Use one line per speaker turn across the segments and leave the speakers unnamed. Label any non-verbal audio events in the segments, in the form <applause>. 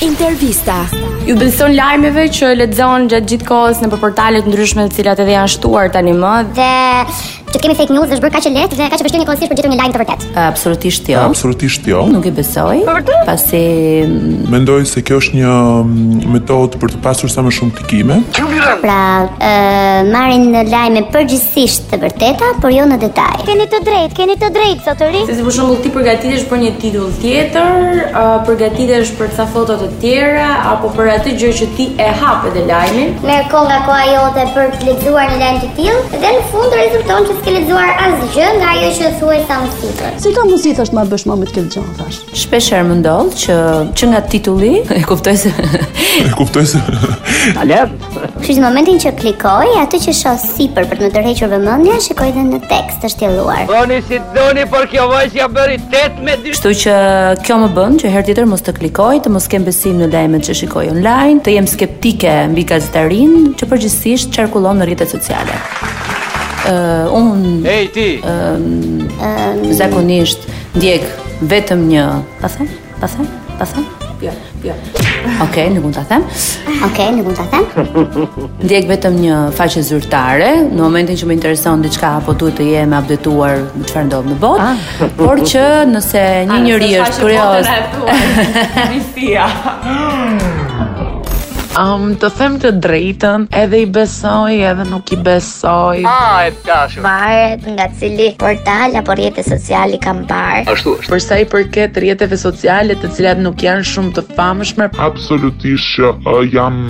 Intervista.
Ju bëson lajmeve që lexon gjatë gjithë kohës nëpër portale të ndryshme të cilat edhe janë shtuar tani më.
Dhe që kemi fake news është bërë kaq e lehtë dhe kaq e vështirë njëkohësisht për gjetur një lajm të vërtetë.
Absolutisht jo.
Absolutisht jo.
Nuk e besoj. Pasi mm,
Mendoj se kjo është një mm, metodë për të pasur sa më shumë klikime.
Pra, ë marrin lajme përgjithsisht të vërteta, por jo në detaj. Keni të drejtë, keni të drejtë sotëri.
Se si për shembull ti përgatitesh për një titull tjetër, ë, përgatitesh për ca foto të tjera apo për atë gjë që ti e hap edhe lajmin.
Merë kohë nga koha jote për të lexuar një lajm të tillë dhe në fund rezulton që s'ke lexuar asgjë nga ajo që thuaj sa më sipër.
Si ka mundësi thashtë ma bësh më me të këtë gjënë thash?
shpeshherë më ndodh që që nga titulli <laughs> e kuptoj se
<laughs> E kuptoj se <laughs>
Kështu që në momentin që klikoj, atë që shoh sipër për të më tërhequr vëmendjen, shikoj edhe në tekst është tjelluar.
Doni si doni, por kjo vajzja bëri 8 me 2
kështu që kjo më bën që herë tjetër mos të klikoj, të mos kem besim në lajmet që shikoj online, të jem skeptike mbi gazetarinë që përgjithsisht çarkullon në rrjetet sociale. Ë unë
Ej ti,
zakonisht ndjek vetëm një, ta them, ta them, ta them.
Jo, jo.
Okej, nuk mund ta them.
Okej, nuk mund ta them.
Ndjek vetëm një faqe zyrtare, në momentin që më intereson diçka apo duhet të jem updetuar me çfarë ndodh në botë,
Ah.
por që nëse një njeri është kurioz,
Misia.
Um, të them të drejtën, edhe i besoj, edhe nuk i besoj.
a e dashur.
Varet nga cili portal apo rrjeti social i kam parë.
Ashtu është.
Përsa i përket rjeteve sociale të cilat nuk janë shumë të famshme,
absolutisht që uh, jam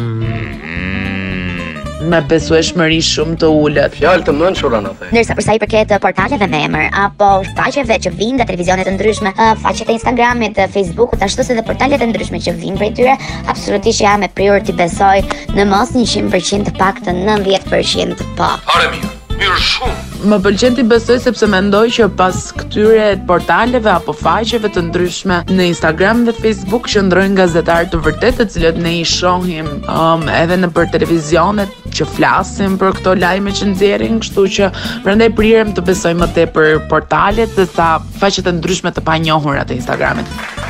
me besueshmëri shumë të ullët.
Fjalë të mënshura në the.
Ndërsa për sa i përket eh, portaleve me emër apo faqeve që vijnë nga televizionet të ndryshme, eh, faqet e Instagramit, eh, Facebookut, ashtu si dhe portalet e ndryshme që vijnë prej tyre, absolutisht jam e prirur ti besoj në mos 100% të paktën 90% po.
Are mirë. Mirë shumë.
Më pëlqen ti besoj sepse mendoj që pas këtyre portaleve apo faqeve të ndryshme në Instagram dhe Facebook qëndrojnë gazetarë të vërtetë, të cilët ne i shohim um, edhe në për televizionet që flasin për këto lajme që nxjerrin, kështu që prandaj prirem të besoj më tepër portalet dhe sa faqet e ndryshme të panjohura të Instagramit.